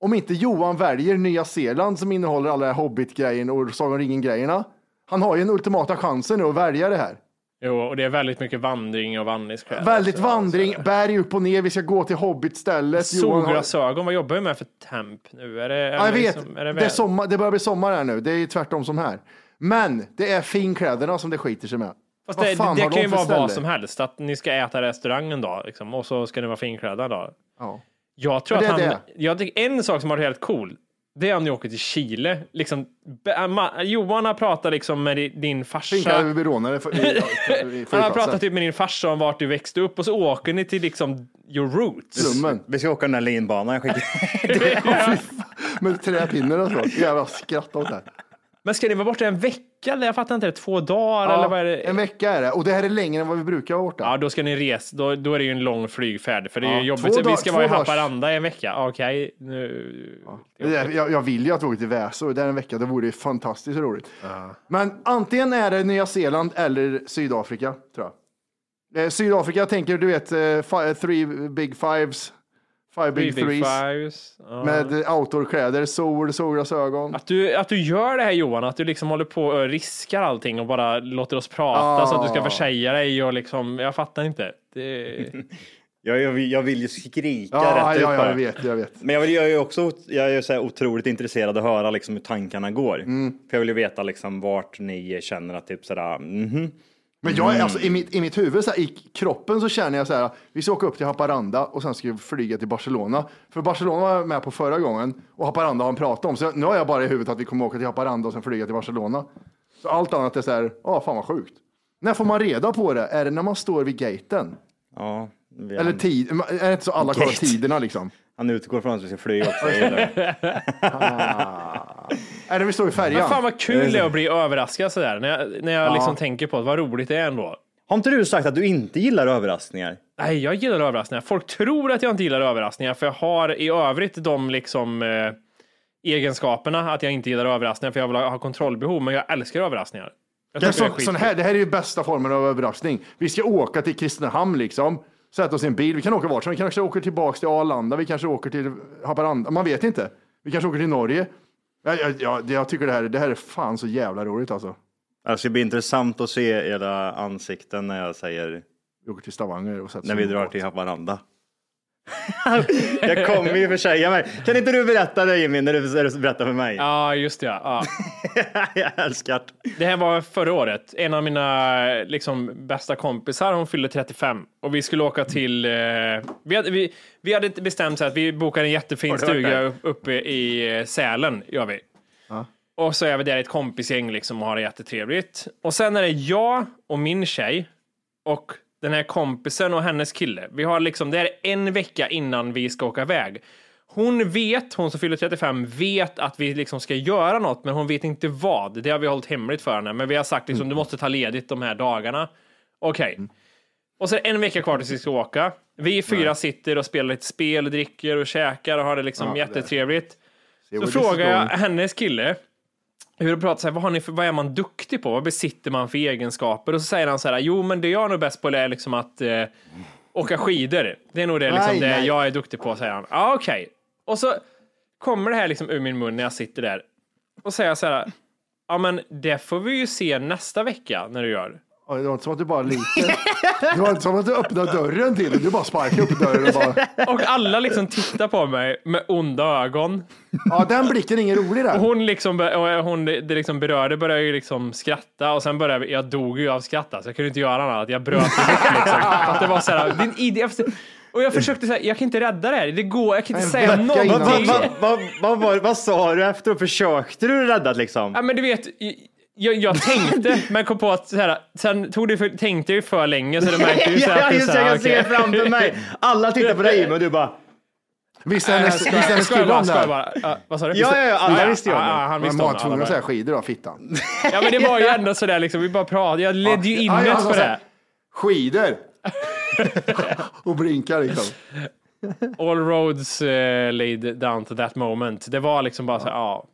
[SPEAKER 1] Om inte Johan väljer Nya Zeeland som innehåller alla Hobbit-grejen och Sagan om ringen-grejerna, han har ju den ultimata chansen nu att välja det här.
[SPEAKER 4] Jo, och det är väldigt mycket vandring och vandringskläder.
[SPEAKER 1] Väldigt vandring, berg upp och ner, vi ska gå till Hobbit-stället. Johan har-
[SPEAKER 4] Solglasögon, vad jobbar vi med för temp nu? Är det, är
[SPEAKER 1] Ja, jag
[SPEAKER 4] det
[SPEAKER 1] vet.
[SPEAKER 4] liksom-
[SPEAKER 1] det,
[SPEAKER 4] väl-
[SPEAKER 1] är sommar, det börjar bli sommar här nu. Det är ju tvärtom som här. Men det är finkläderna som det skiter sig med.
[SPEAKER 4] Fast
[SPEAKER 1] Vad
[SPEAKER 4] det,
[SPEAKER 1] fan
[SPEAKER 4] det,
[SPEAKER 1] har
[SPEAKER 4] det kan
[SPEAKER 1] de
[SPEAKER 4] ju
[SPEAKER 1] för
[SPEAKER 4] vara vad
[SPEAKER 1] ställe?
[SPEAKER 4] som helst, att ni ska äta restaurangen då, liksom, och så ska ni vara finklädda då.
[SPEAKER 1] Ja.
[SPEAKER 4] Jag tror
[SPEAKER 1] Men
[SPEAKER 4] att
[SPEAKER 1] det
[SPEAKER 4] han,
[SPEAKER 1] är
[SPEAKER 4] jag tycker en sak som har varit helt cool, det är om ni åker till Chile. Liksom, be- äh, ma- Johan har pratat liksom med di- din farsa.
[SPEAKER 1] Finkläder blir rånade för- i- i- i
[SPEAKER 4] Han har
[SPEAKER 1] flygplatsen.
[SPEAKER 4] pratat typ med din farsa om vart du växte upp och så åker ni till liksom your roots.
[SPEAKER 2] Vi ska åka den där linbanan. jag skickar-
[SPEAKER 1] Med träpinnar och så. Jävla skratt åt det. här.
[SPEAKER 4] Men ska ni vara borta en vecka? Eller jag fattar inte det. Två dagar
[SPEAKER 1] Ja,
[SPEAKER 4] eller vad är det?
[SPEAKER 1] En vecka är det. Och det här är längre än vad vi brukar vara borta.
[SPEAKER 4] Ja, då ska ni resa. Då, då är det ju en lång flygfärd, för det är
[SPEAKER 1] Ja,
[SPEAKER 4] ju
[SPEAKER 1] två
[SPEAKER 4] jobbigt.
[SPEAKER 1] dagar-
[SPEAKER 4] Vi ska
[SPEAKER 1] två
[SPEAKER 4] vara i
[SPEAKER 1] dagars-
[SPEAKER 4] Haparanda i en vecka. Okej, nu...
[SPEAKER 1] Det där- Jag, jag vill ju att vi åker till Väsö. Det är en vecka. Det vore ju fantastiskt roligt. Men antingen är det Nya Zeeland eller Sydafrika, tror jag. Eh, Sydafrika jag tänker, du vet, eh, fi, three big fives,
[SPEAKER 4] Three
[SPEAKER 1] five big,
[SPEAKER 4] big
[SPEAKER 1] threes.
[SPEAKER 4] fives, ja.
[SPEAKER 1] Med outdoorkläder, sol, solglasögon.
[SPEAKER 4] Att du, att du gör det här Johan, att du liksom håller på och riskar allting och bara låter oss prata
[SPEAKER 1] Ja.
[SPEAKER 4] så att du ska försäga dig och liksom, jag fattar inte. Det...
[SPEAKER 2] jag, jag, vill- jag vill ju skrika
[SPEAKER 1] Ja,
[SPEAKER 2] rätt ut
[SPEAKER 1] ja,
[SPEAKER 2] bara.
[SPEAKER 1] ja, jag vet, jag vet.
[SPEAKER 2] Men jag, vill, jag är ju också jag är ju så här otroligt intresserad av att höra liksom hur tankarna går.
[SPEAKER 1] Mm.
[SPEAKER 2] För jag vill ju veta liksom vart ni känner att typ sådär, mhm.
[SPEAKER 1] Men jag är,
[SPEAKER 2] Mm.
[SPEAKER 1] alltså, i, mitt, i mitt huvud, så här, i kroppen så känner jag så här, vi ska åka upp till Haparanda och sen ska vi flyga till Barcelona. För Barcelona var jag med på förra gången och Haparanda har han pratat om. Så nu har jag bara i huvudet att vi kommer åka till Haparanda och sen flyga till Barcelona. Så allt annat är så här, ja fan vad sjukt. När får man reda på det? Är det när man står vid gaten?
[SPEAKER 2] Ja. vi-
[SPEAKER 1] Eller tid, är det inte så alla kollar
[SPEAKER 2] Mm. Gate.
[SPEAKER 1] tiderna liksom?
[SPEAKER 2] Han utgår från att vi ska flyga också. jag gillar det.
[SPEAKER 1] Är det vi står i färjan?
[SPEAKER 4] Men fan vad kul det är att bli överraskad sådär, när jag, när jag liksom tänker på det, vad roligt det är ändå.
[SPEAKER 2] Har inte du sagt att du inte gillar överraskningar?
[SPEAKER 4] Nej, jag gillar överraskningar. Folk tror att jag inte gillar överraskningar, för jag har i övrigt de liksom eh, egenskaperna att jag inte gillar överraskningar, för jag vill ha, ha kontrollbehov, men jag älskar överraskningar. Jag tycker
[SPEAKER 1] Ja,
[SPEAKER 4] det är
[SPEAKER 1] så,
[SPEAKER 4] skit-
[SPEAKER 1] sån här, det här är ju bästa formen av överraskning. Vi ska åka till Kristinehamn liksom. Sätta oss i en bil. Vi kan åka vart som helst. Vi kanske åker tillbaka till Arlanda. Vi kanske åker till Haparanda. Man vet inte. Vi kanske åker till Norge. Jag, jag, jag, jag tycker det här, det här är fan så jävla roligt alltså.
[SPEAKER 2] Alltså det blir intressant att se era ansikten när jag säger
[SPEAKER 1] Vi åker till Stavanger och sätter
[SPEAKER 2] när
[SPEAKER 1] oss
[SPEAKER 2] vi
[SPEAKER 1] i en
[SPEAKER 2] drar
[SPEAKER 1] båt.
[SPEAKER 2] till Haparanda. jag kommer ju försäga mig. Kan inte du berätta det Jimmy, när du när du berättar för mig?
[SPEAKER 4] Ja, just det. Ja.
[SPEAKER 2] jag älskar det.
[SPEAKER 4] Det här var förra året. En av mina liksom, bästa kompisar, hon fyllde 35 och vi skulle åka till... Eh, vi, hade, vi, vi hade bestämt så att vi bokar en jättefin
[SPEAKER 2] Har du varit
[SPEAKER 4] stuga
[SPEAKER 2] där?
[SPEAKER 4] upp, uppe i eh, Sälen, gör vi. Och så är vi där i ett kompisgäng liksom och har det jättetrevligt. Och sen är det jag och min tjej och den här kompisen och hennes kille. Vi har liksom, det är en vecka innan vi ska åka iväg. Hon vet, hon som fyller 35, vet att vi liksom ska göra något, men hon vet inte vad. Det har vi hållit hemligt för henne, men vi har sagt liksom, du måste ta ledigt de här dagarna. Okej.
[SPEAKER 1] Mm.
[SPEAKER 4] Och så är det en vecka kvar tills vi ska åka. Vi fyra sitter och spelar lite spel, dricker och käkar och har det liksom
[SPEAKER 1] Ja, det-
[SPEAKER 4] jättetrevligt.
[SPEAKER 1] See
[SPEAKER 4] Så
[SPEAKER 1] where this is
[SPEAKER 4] frågar jag
[SPEAKER 1] going.
[SPEAKER 4] hennes kille hur det pratar, så här, vad, har ni för, vad är man duktig på? Vad besitter man för egenskaper? Och så säger han så här, jo men det jag är nog bäst på det är liksom att eh, åka skidor. Det är nog det, liksom,
[SPEAKER 1] Nej,
[SPEAKER 4] det
[SPEAKER 1] nej.
[SPEAKER 4] jag är duktig på, säger han. Ja, okej. Och så kommer det här liksom ur min mun när jag sitter där. Och säger så här, ja men det får vi ju se nästa vecka när du gör.
[SPEAKER 1] Oj, Det var inte som att du bara lite. Det var inte som att du öppnade dörren till det. Du bara sparkade upp dörren och bara.
[SPEAKER 4] Och alla liksom tittar på mig med onda ögon.
[SPEAKER 1] Ja, den blicken är ingen rolig
[SPEAKER 4] Och
[SPEAKER 1] där.
[SPEAKER 4] hon liksom, och hon det liksom berörde började ju liksom skratta och sen började jag dog ju av skratt alltså. Jag kunde inte göra något annat. Jag bröt ihop liksom. För att det var så här, din ide, och jag försökte säga, jag kan inte rädda det här. Det går, jag kan inte
[SPEAKER 1] En
[SPEAKER 4] säga
[SPEAKER 1] vecka innan
[SPEAKER 2] Vad,
[SPEAKER 4] någonting.
[SPEAKER 2] vad, vad, vad, vad, var- vad sa du efteråt? Försökte du rädda det, liksom?
[SPEAKER 4] Ja, men du vet, jag, jag tänkte, men kom på att så här, sen tog det för, tänkte jag ju för länge så det märkte ju så här,
[SPEAKER 2] ja,
[SPEAKER 4] att det är
[SPEAKER 2] just
[SPEAKER 4] så
[SPEAKER 2] det,
[SPEAKER 4] här,
[SPEAKER 2] jag ser
[SPEAKER 4] okej.
[SPEAKER 2] framför mig. Alla tittar på dig Jimmy och du bara,
[SPEAKER 1] Visst är det-
[SPEAKER 4] jag skojar.
[SPEAKER 1] visst är det
[SPEAKER 4] Jag skojar bara,
[SPEAKER 1] skridon
[SPEAKER 4] skojar
[SPEAKER 1] där?
[SPEAKER 4] bara. Ja, Vad sa du?
[SPEAKER 1] Ja,
[SPEAKER 4] Visst-
[SPEAKER 1] ja, ja, alla visste jag
[SPEAKER 4] ja,
[SPEAKER 1] det.
[SPEAKER 4] ja, Han
[SPEAKER 1] Men
[SPEAKER 4] visste
[SPEAKER 1] man
[SPEAKER 4] om
[SPEAKER 1] var
[SPEAKER 4] det,
[SPEAKER 1] tvungen
[SPEAKER 4] alla
[SPEAKER 1] att
[SPEAKER 4] bara-
[SPEAKER 1] säga skidor då, fittan.
[SPEAKER 4] Ja, men det var ju ändå sådär liksom. Vi bara pratade. Jag ledde ju in
[SPEAKER 1] Ja, alltså
[SPEAKER 4] det
[SPEAKER 1] ja, han
[SPEAKER 4] på
[SPEAKER 1] sa
[SPEAKER 4] det.
[SPEAKER 1] Skidor! och blinkar liksom.
[SPEAKER 4] All roads eh, laid down to that moment. Det var liksom bara så här, ja.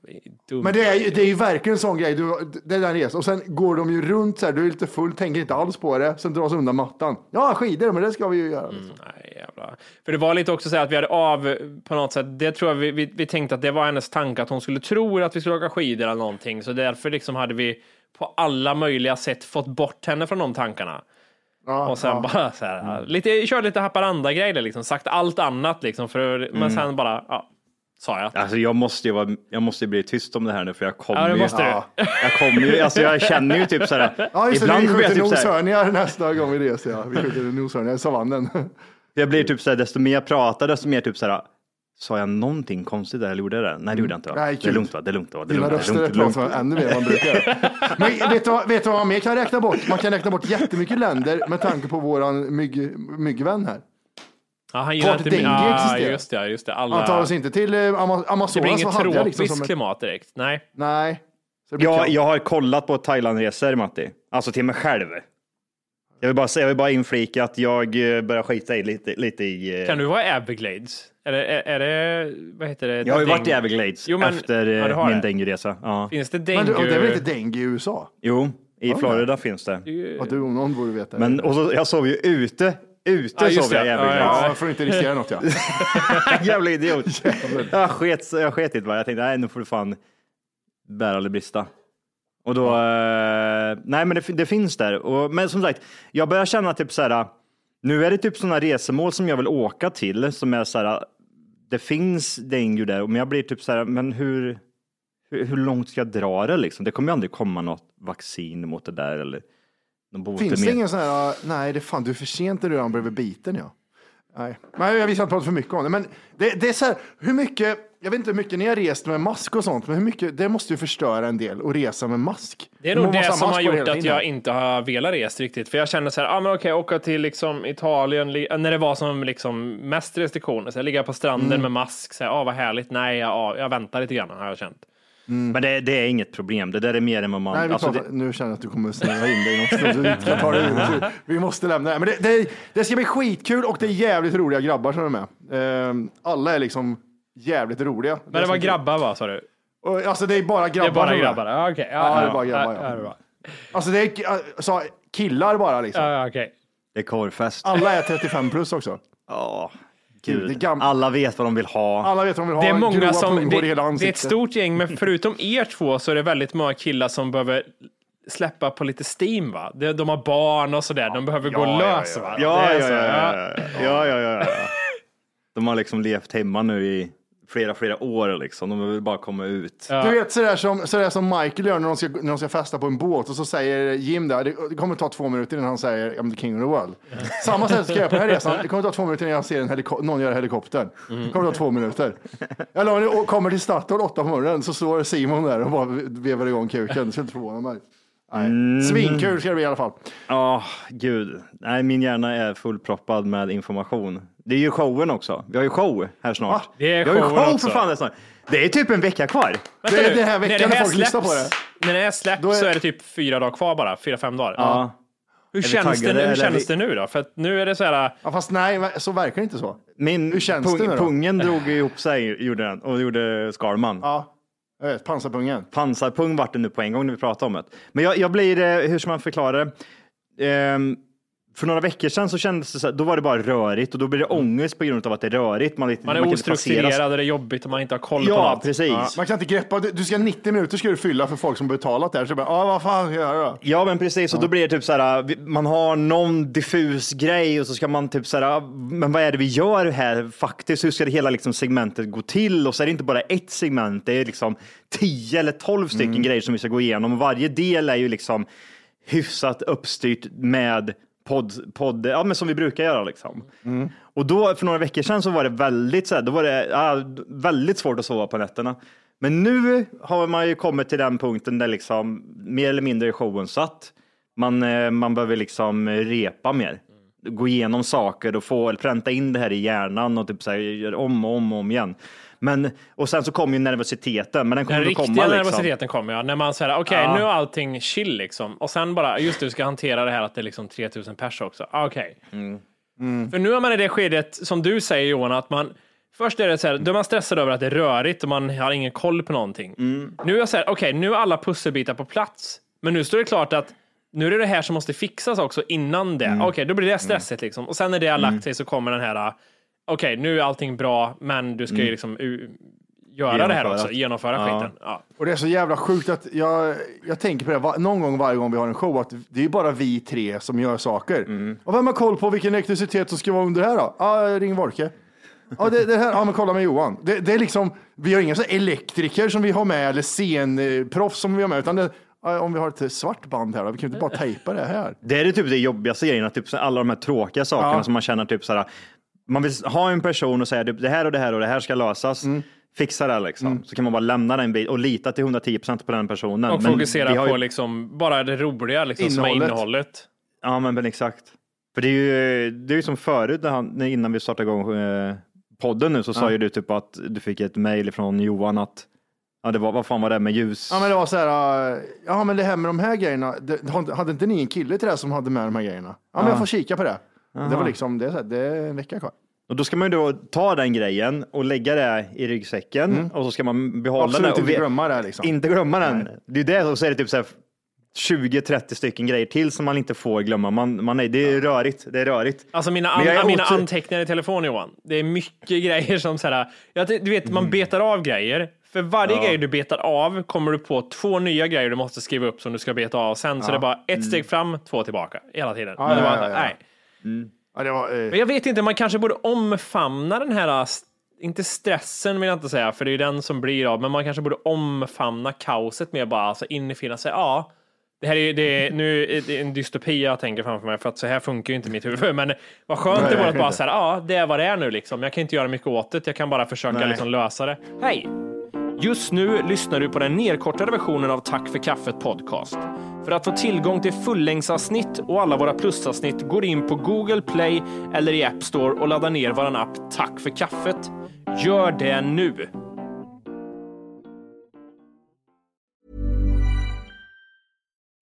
[SPEAKER 4] dumt.
[SPEAKER 1] Men det är, ju- det är ju verkligen en sån grej. Du, det är den resan. Och sen går de ju runt så här. Du är lite full, tänker inte alls på det. Sen dras undan mattan. Ja, skidor, men det ska vi ju göra. Liksom.
[SPEAKER 4] Nej, jävlar. För det var lite också så här att vi hade av på något sätt. Det tror jag vi, vi, vi tänkte att det var hennes tanke att hon skulle tro att vi skulle åka skidor eller någonting. Så därför liksom hade vi på alla möjliga sätt fått bort henne från de tankarna. och sen bara så här,
[SPEAKER 1] Mm.
[SPEAKER 4] lite, körde lite Haparanda-grejer liksom, sagt allt annat liksom, för, men
[SPEAKER 2] Mm.
[SPEAKER 4] sen bara, ja, sa jag.
[SPEAKER 2] Alltså jag måste ju vara, jag måste ju bli tyst om det här nu för jag kommer
[SPEAKER 4] Ja, det
[SPEAKER 2] ju.
[SPEAKER 4] måste du.
[SPEAKER 2] Jag kommer ju, alltså jag känner ju typ såhär.
[SPEAKER 1] Ja, just det. Vi
[SPEAKER 2] blir jag
[SPEAKER 1] skjuter
[SPEAKER 2] typ såhär.
[SPEAKER 1] noshörningar nästa gång vi reser. Ja. Vi skjuter noshörningar i savannen.
[SPEAKER 2] Jag blir typ såhär, desto mer jag pratar desto mer typ såhär. Sa jag någonting konstigt där eller gjorde jag det? Nej det gjorde jag inte va?
[SPEAKER 1] Nej,
[SPEAKER 2] det är
[SPEAKER 1] kul.
[SPEAKER 2] lugnt va? Det är lugnt va? Det är
[SPEAKER 1] Dina
[SPEAKER 2] lugnt, va?
[SPEAKER 1] röster
[SPEAKER 2] det
[SPEAKER 1] är
[SPEAKER 2] är lugnt.
[SPEAKER 1] pratar ännu mer än man brukar. Men vet du, vad- vet du vad man mer kan räkna bort? Man kan räkna bort jättemycket länder med tanke på våran mygg, myggvän här.
[SPEAKER 4] Ja, han gillar
[SPEAKER 1] Klart
[SPEAKER 4] inte
[SPEAKER 1] dengue
[SPEAKER 4] ah,
[SPEAKER 1] existerar.
[SPEAKER 4] just det, just det.
[SPEAKER 1] Han tar
[SPEAKER 4] Alla,
[SPEAKER 1] oss inte till eh, Ama-
[SPEAKER 4] det blir
[SPEAKER 1] Amazonas.
[SPEAKER 4] inget
[SPEAKER 1] vad hade jag
[SPEAKER 4] tropiskt
[SPEAKER 1] liksom som ett-
[SPEAKER 4] klimat direkt. Nej.
[SPEAKER 1] Nej.
[SPEAKER 2] Jag, jag har kollat på Thailandresor Matti. Alltså till mig själv. Jag vill bara, säga- jag vill bara inflika att jag eh, börjar skita i lite, lite i... eh,
[SPEAKER 4] Kan du vara Everglades? Är det, är, är det vad heter det?
[SPEAKER 2] Jag har ju varit i
[SPEAKER 4] Dengue?
[SPEAKER 2] Everglades
[SPEAKER 4] Jo, men-
[SPEAKER 2] efter eh,
[SPEAKER 4] ja, du har
[SPEAKER 2] min
[SPEAKER 4] det.
[SPEAKER 2] dengue-resa. Ja.
[SPEAKER 4] Finns det
[SPEAKER 1] Men
[SPEAKER 4] dengue?
[SPEAKER 1] du- och det är väl inte dengue i USA?
[SPEAKER 2] Jo, i
[SPEAKER 1] Ja,
[SPEAKER 2] Florida finns det.
[SPEAKER 1] Ja, du om någon borde veta.
[SPEAKER 2] Men och så, jag sov ju ute. Ute
[SPEAKER 1] Ja, just
[SPEAKER 2] sov jag i
[SPEAKER 1] det. Ja,
[SPEAKER 2] Everglades.
[SPEAKER 1] ja, ja, för att inte riskera något, ja.
[SPEAKER 2] Jävla idiot. jag sket jag sket i det bara. Jag tänkte, nej nu får du fan bära eller brista. Och då, eh, nej men det, fin- det finns där. Och, men som sagt, jag börjar känna typ så här, nu är det typ sådana resemål som jag vill åka till som är så här, det finns dengue där, men jag blir typ så här, men hur, hur, hur långt ska jag dra det liksom? Det kommer ju aldrig komma något vaccin mot det där eller någon botemedel.
[SPEAKER 1] Finns det ingen sån här, ah, nej det är fan du är för sent när du redan blivit biten ja. Nej, nej jag visste inte prata för mycket om det. Men det, det är så här, hur mycket, jag vet inte hur mycket ni har rest med mask och sånt, men hur mycket, det måste ju förstöra en del att resa med mask.
[SPEAKER 4] Det är
[SPEAKER 1] Man
[SPEAKER 4] nog
[SPEAKER 1] måste
[SPEAKER 4] det
[SPEAKER 1] ha
[SPEAKER 4] som
[SPEAKER 1] mask
[SPEAKER 4] har
[SPEAKER 1] på
[SPEAKER 4] gjort
[SPEAKER 1] hela
[SPEAKER 4] att
[SPEAKER 1] tiden.
[SPEAKER 4] jag inte har velat resa riktigt. För jag känner så här, ah, men okej, åka till liksom Italien, li- när det var som liksom mest restriktioner. Så jag ligger på stranden
[SPEAKER 2] Mm.
[SPEAKER 4] med mask, så här, ah, vad härligt. Nej, jag, ah, jag väntar lite grann har jag känt.
[SPEAKER 2] Men det, det är inget problem, det där är mer än vad man...
[SPEAKER 1] Nej, vi
[SPEAKER 2] alltså,
[SPEAKER 1] pratar,
[SPEAKER 2] det,
[SPEAKER 1] nu känner jag att du kommer snurra in dig i något som du inte kan ta dig ur. Vi måste lämna det här. Men det, det, det ska bli skitkul och det är jävligt roliga grabbar som är med. Ehm, alla är liksom jävligt roliga.
[SPEAKER 4] Men det var grabbar va, sa du?
[SPEAKER 1] Och, Alltså det är bara grabbar.
[SPEAKER 4] det är bara
[SPEAKER 1] som är med.
[SPEAKER 4] grabbar? Ja, okej.
[SPEAKER 1] Ja, det är bara grabbar, ja.
[SPEAKER 4] ja, det är bra.
[SPEAKER 1] Alltså det är alltså, killar bara liksom.
[SPEAKER 4] Ja, ja, okej.
[SPEAKER 2] det är korvfest.
[SPEAKER 1] Alla är 35 plus också.
[SPEAKER 2] Ja,
[SPEAKER 1] Det är
[SPEAKER 2] gud.
[SPEAKER 1] gam-
[SPEAKER 2] Alla vet vad de vill ha.
[SPEAKER 1] Alla vet vad de vill ha.
[SPEAKER 4] Det är många
[SPEAKER 1] grova
[SPEAKER 4] som,
[SPEAKER 1] pungor i
[SPEAKER 4] det,
[SPEAKER 1] hela
[SPEAKER 4] det är ett
[SPEAKER 1] ansiktet.
[SPEAKER 4] stort gäng, men förutom er två så är det väldigt många killar som behöver släppa på lite steam va? De, de har barn och sådär, de behöver gå lös va?
[SPEAKER 2] Ja,
[SPEAKER 4] Det är
[SPEAKER 2] ja,
[SPEAKER 4] så,
[SPEAKER 2] ja, ja, ja, ja, ja, ja. De har liksom levt hemma nu i flera, flera år liksom. De vill bara komma ut.
[SPEAKER 1] Du vet sådär som, sådär som Michael gör när de, ska, när de ska festa på en båt och så säger Jim där, det, det kommer ta två minuter innan han säger I'm the king of the world. Samma sätt ska jag göra på den här resan, det kommer ta två minuter innan jag ser en heliko- någon göra helikoptern.
[SPEAKER 4] Mm.
[SPEAKER 1] Det kommer ta två minuter. Jag lovar, när jag kommer till Statoil åtta på morgonen så står Simon där och bara vevar igång kuken, det skulle inte förvåna mig.
[SPEAKER 2] Mm.
[SPEAKER 1] Svinkul ska det bli i alla fall.
[SPEAKER 2] Ja, gud. Nej, min hjärna är fullproppad med information. Det är ju showen också. Vi har ju show här snart.
[SPEAKER 4] Ah, Det är
[SPEAKER 2] Vi har ju
[SPEAKER 4] showen
[SPEAKER 2] show
[SPEAKER 4] också.
[SPEAKER 2] för fan det är snart. Det är typ en vecka kvar.
[SPEAKER 4] Vänta
[SPEAKER 1] Det är
[SPEAKER 4] nu,
[SPEAKER 1] den här veckan
[SPEAKER 4] när det här
[SPEAKER 1] folk lyssnar
[SPEAKER 4] släpps-
[SPEAKER 1] på
[SPEAKER 4] När det här släpps så är det typ fyra dagar kvar bara, fyra, fem dagar.
[SPEAKER 2] Ja.
[SPEAKER 4] Hur
[SPEAKER 2] Är vi
[SPEAKER 4] känns, det,
[SPEAKER 2] taggade,
[SPEAKER 4] nu- hur
[SPEAKER 2] eller är
[SPEAKER 4] känns
[SPEAKER 2] vi-
[SPEAKER 4] det nu då? För att nu är det så här,
[SPEAKER 1] Ja, fast nej, så verkar det inte så.
[SPEAKER 2] Min
[SPEAKER 1] Hur känns det nu då?
[SPEAKER 2] Pungen drog ju ihop sig, gjorde den. Och gjorde Skalman.
[SPEAKER 1] Ja, jag vet, pansarpungen.
[SPEAKER 2] Pansarpung vart det nu på en gång när vi pratade om det. Men jag, jag blir, eh, hur ska man förklara det? Ehm, för några veckor sedan så kändes det så här, då var det bara rörigt och då blir
[SPEAKER 1] Mm.
[SPEAKER 2] det ångest på grund av att det är rörigt. Man, lite,
[SPEAKER 4] man är
[SPEAKER 2] kan inte passera-
[SPEAKER 4] ostrukturerad och det är jobbigt och man inte har koll på
[SPEAKER 2] Ja,
[SPEAKER 4] något.
[SPEAKER 2] precis.
[SPEAKER 1] Man kan inte greppa, du, du ska 90 minuter ska du fylla för folk som betalat där. Så bara, ah, vad fan ska jag göra då?
[SPEAKER 2] Ja, men precis. Och då blir det typ så här, vi- man har någon diffus grej och så ska man typ så här, men vad är det vi gör här faktiskt? Hur ska det hela liksom segmentet gå till? Och så är det inte bara ett segment, det är liksom tio eller tolv stycken grejer som vi ska gå igenom. Och varje del är ju liksom hyfsat uppstyrt med podd, podd ja, men som vi brukar göra liksom. Och då för några veckor sedan så var det väldigt så här, då var det ja, väldigt svårt att sova på nätterna. Men nu har man ju kommit till den punkten där liksom mer eller mindre är showen satt. Man, eh, man behöver liksom repa mer. gå igenom saker och få pränta in det här i hjärnan och typ så här, göra om och om och om igen. Men, och sen så kom ju nervositeten, men den kommer
[SPEAKER 4] Den
[SPEAKER 2] att
[SPEAKER 4] riktiga
[SPEAKER 2] komma. Liksom.
[SPEAKER 4] nervositeten kommer ja, när man säger okej
[SPEAKER 2] Ja.
[SPEAKER 4] nu är allting chill liksom och sen bara just du ska hantera det här att det är liksom 3000 pers också. Ah, Okej.
[SPEAKER 2] Mm.
[SPEAKER 4] För nu är man i det skedet som du säger Johan att man först är det så här, då är man stressad över att det är rörigt och man har ingen koll på någonting.
[SPEAKER 2] Mm.
[SPEAKER 4] Nu är jag så här, okej nu är alla pusselbitar på plats, men nu står det klart att nu är det det här som måste fixas också innan det.
[SPEAKER 2] Mm.
[SPEAKER 4] Okej, då blir det stressigt liksom. Och sen när det har lagt sig så kommer den här, ah, okej nu är allting bra, men du ska ju
[SPEAKER 1] Mm.
[SPEAKER 4] liksom u- göra det här
[SPEAKER 1] Genomföra.
[SPEAKER 4] också, genomföra skiten. Ja.
[SPEAKER 1] Och det är så jävla sjukt att jag, jag tänker på det va- någon gång varje gång vi har en show att det är bara vi tre som gör saker. Och vem har koll på vilken elektricitet som ska vara under här då? Ja, ring Volke. Ja, det, det här, ja, men kolla med Johan. Det, det är liksom, vi har inga så här elektriker som vi har med eller scenproffs som vi har med, utan det, ja, om vi har ett svart band här då, vi kan ju inte bara tejpa det här.
[SPEAKER 2] Det är det typ det jobbigaste grejen, att typ så- alla de här tråkiga sakerna
[SPEAKER 1] Ja.
[SPEAKER 2] som man känner typ så här. Man vill ha en person och säga typ, det här och det här och det här ska lösas.
[SPEAKER 4] Mm.
[SPEAKER 2] Fixa det här, liksom. Så kan man bara lämna den bit och lita till 110 procent på den personen.
[SPEAKER 4] Och
[SPEAKER 2] Men vi
[SPEAKER 4] fokusera
[SPEAKER 2] har
[SPEAKER 4] på
[SPEAKER 2] ju-
[SPEAKER 4] liksom bara det roliga liksom, som är innehållet.
[SPEAKER 2] Ja, men, men exakt. För det är ju, det är ju som förut när han, när- innan vi startade igång eh, podden nu så sa
[SPEAKER 1] Ja.
[SPEAKER 2] ju du typ att du fick ett mejl från Johan att, ja det var, vad fan var det med ljus?
[SPEAKER 1] Ja, men det var så här, äh, ja, men det här med de här grejerna, det, har inte- hade inte ni en kille till det här som hade med de här grejerna? Ja, men
[SPEAKER 2] Ja.
[SPEAKER 1] jag får kika på det. Det
[SPEAKER 2] Aha.
[SPEAKER 1] var liksom, det är, så här, det är en vecka kvar.
[SPEAKER 2] Och då ska man ju då ta den grejen och lägga det i ryggsäcken och så ska man behålla
[SPEAKER 1] Mm. Absolut
[SPEAKER 2] den. och
[SPEAKER 1] inte
[SPEAKER 2] ve-
[SPEAKER 1] glömma det här, liksom.
[SPEAKER 2] Inte glömma den. Det är ju det och så är det typ så här 20-30 stycken grejer till som man inte får glömma. Man, man är, det är rörigt. Det är rörigt.
[SPEAKER 4] Alltså mina,
[SPEAKER 2] Men jag är
[SPEAKER 4] an, mina
[SPEAKER 2] otur-
[SPEAKER 4] anteckningar i telefon Johan, det är mycket grejer som så här, jag, ty- du vet man betar av grejer. För varje
[SPEAKER 2] Ja.
[SPEAKER 4] grej du betar av kommer du på två nya grejer du måste skriva upp som du ska beta av sen. Så
[SPEAKER 1] Ja.
[SPEAKER 4] det är bara ett
[SPEAKER 1] Mm.
[SPEAKER 4] steg fram, två tillbaka hela tiden.
[SPEAKER 1] Ja,
[SPEAKER 4] Men det
[SPEAKER 1] ja,
[SPEAKER 4] var så
[SPEAKER 1] ja,
[SPEAKER 4] här,
[SPEAKER 1] ja.
[SPEAKER 4] Nej.
[SPEAKER 1] Ja, det var, eh,
[SPEAKER 4] Men jag vet inte, man kanske borde omfamna den här, äh, st- inte stressen vill jag inte säga, för det är ju den som blir av, men man kanske borde omfamna kaoset med bara alltså infinna sig. Ja, det här är, ju- det är, nu är det en dystopi jag tänker framför mig, för att så här funkar ju inte mitt huvud. Men vad skönt
[SPEAKER 2] Nej,
[SPEAKER 4] det vore att
[SPEAKER 2] verkligen
[SPEAKER 4] bara
[SPEAKER 2] inte.
[SPEAKER 4] så här, ja, det är vad det är nu liksom. Jag kan inte göra mycket åt det, jag kan bara försöka
[SPEAKER 2] Nej.
[SPEAKER 4] liksom lösa det. Hej! Just nu lyssnar du på den nedkortade versionen av Tack för kaffet podcast. För att få tillgång till fullängdsavsnitt och alla våra plusavsnitt går in på Google Play eller i App Store och laddar ner vår app Tack för kaffet. Gör det nu!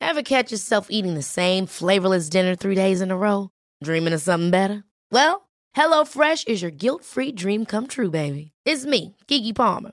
[SPEAKER 8] Ever catch yourself eating the same flavorless dinner three days in a row? Dreaming of something better? Well, HelloFresh is your guilt-free dream come true, baby. It's me, Kiki Palmer.